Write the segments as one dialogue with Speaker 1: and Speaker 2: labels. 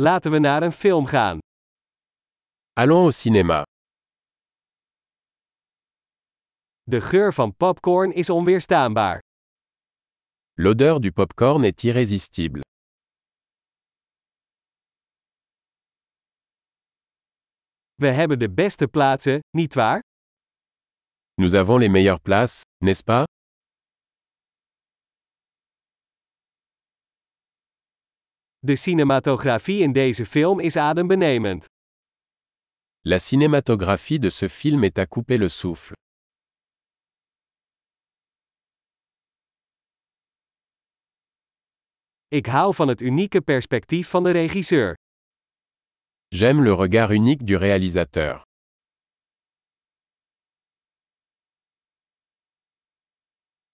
Speaker 1: Laten we naar een film gaan.
Speaker 2: Allons au cinéma.
Speaker 1: De geur van popcorn is onweerstaanbaar.
Speaker 2: L'odeur du popcorn est irrésistible.
Speaker 1: We hebben de beste plaatsen, nietwaar?
Speaker 2: Nous avons les meilleures places, n'est-ce pas
Speaker 1: De cinematografie in deze film is adembenemend.
Speaker 2: La cinématographie de ce film est à couper le souffle.
Speaker 1: Ik hou van het unieke perspectief van de regisseur.
Speaker 2: J'aime le regard unique du réalisateur.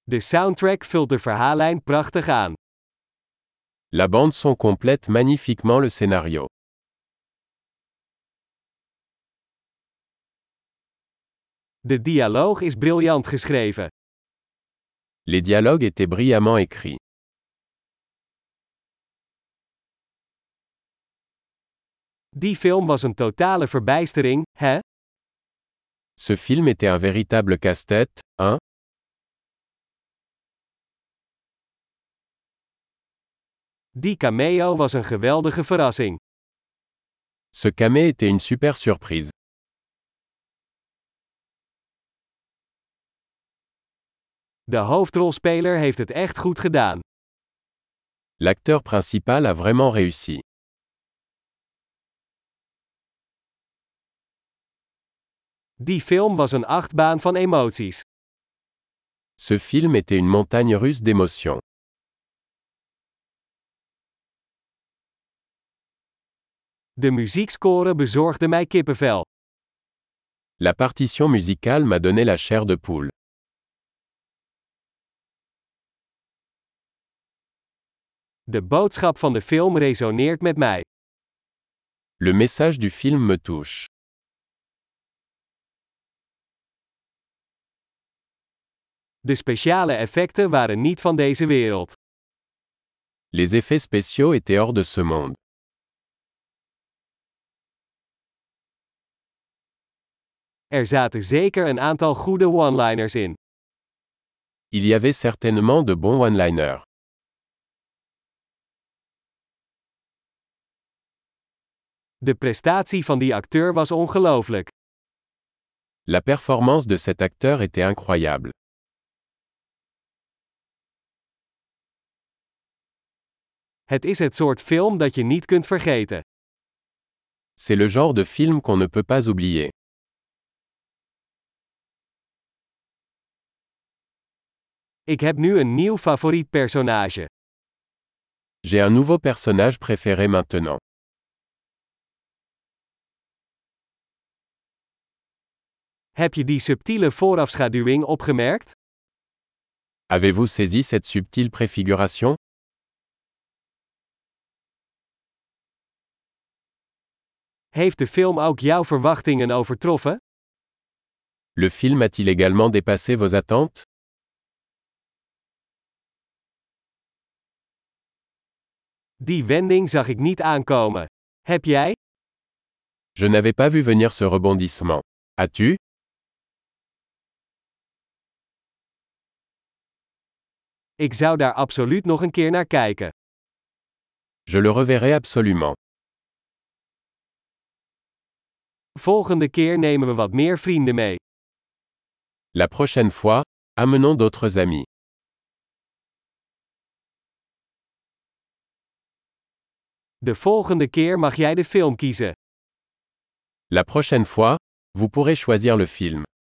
Speaker 1: De soundtrack vult de verhaallijn prachtig aan.
Speaker 2: La bande son complète magnifiquement le scénario.
Speaker 1: De dialoog is briljant geschreven.
Speaker 2: Les dialogues étaient brillamment écrits.
Speaker 1: Die film was een totale verbijstering, hè?
Speaker 2: Ce film était un véritable casse-tête, hein
Speaker 1: Die cameo was een geweldige verrassing.
Speaker 2: Ce camé était une super surprise.
Speaker 1: De hoofdrolspeler heeft het echt goed gedaan.
Speaker 2: L'acteur principal a vraiment réussi.
Speaker 1: Die film was een achtbaan van emoties.
Speaker 2: Ce film était une montagne russe d'émotions.
Speaker 1: De muziekscore bezorgde mij kippenvel.
Speaker 2: La partition musicale m'a donné la chair de poule.
Speaker 1: De boodschap van de film resoneert met mij.
Speaker 2: Le message du film me touche.
Speaker 1: De speciale effecten waren niet van deze wereld.
Speaker 2: Les effets spéciaux étaient hors de ce monde.
Speaker 1: Er zaten zeker een aantal goede one-liners in.
Speaker 2: Il y avait certainement de bons one-liners.
Speaker 1: De prestatie van die acteur was ongelooflijk.
Speaker 2: La performance de cet acteur était incroyable.
Speaker 1: Het is het soort film dat je niet kunt vergeten.
Speaker 2: C'est le genre de film qu'on ne peut pas oublier.
Speaker 1: Ik heb nu een nieuw favoriet personage.
Speaker 2: J'ai un nouveau personnage préféré maintenant.
Speaker 1: Heb je die subtiele voorafschaduwing opgemerkt?
Speaker 2: Avez-vous saisi cette subtile préfiguration
Speaker 1: Heeft de film ook jouw verwachtingen overtroffen?
Speaker 2: Le film a-t-il également dépassé vos attentes
Speaker 1: Die wending zag ik niet aankomen. Heb jij?
Speaker 2: Je n'avais pas vu venir ce rebondissement. As-tu
Speaker 1: Ik zou daar absoluut nog een keer naar kijken.
Speaker 2: Je le reverrai absolument.
Speaker 1: Volgende keer nemen we wat meer vrienden mee.
Speaker 2: La prochaine fois, amenons d'autres amis.
Speaker 1: De volgende keer mag jij de film kiezen.
Speaker 2: La prochaine fois, vous pourrez choisir le film.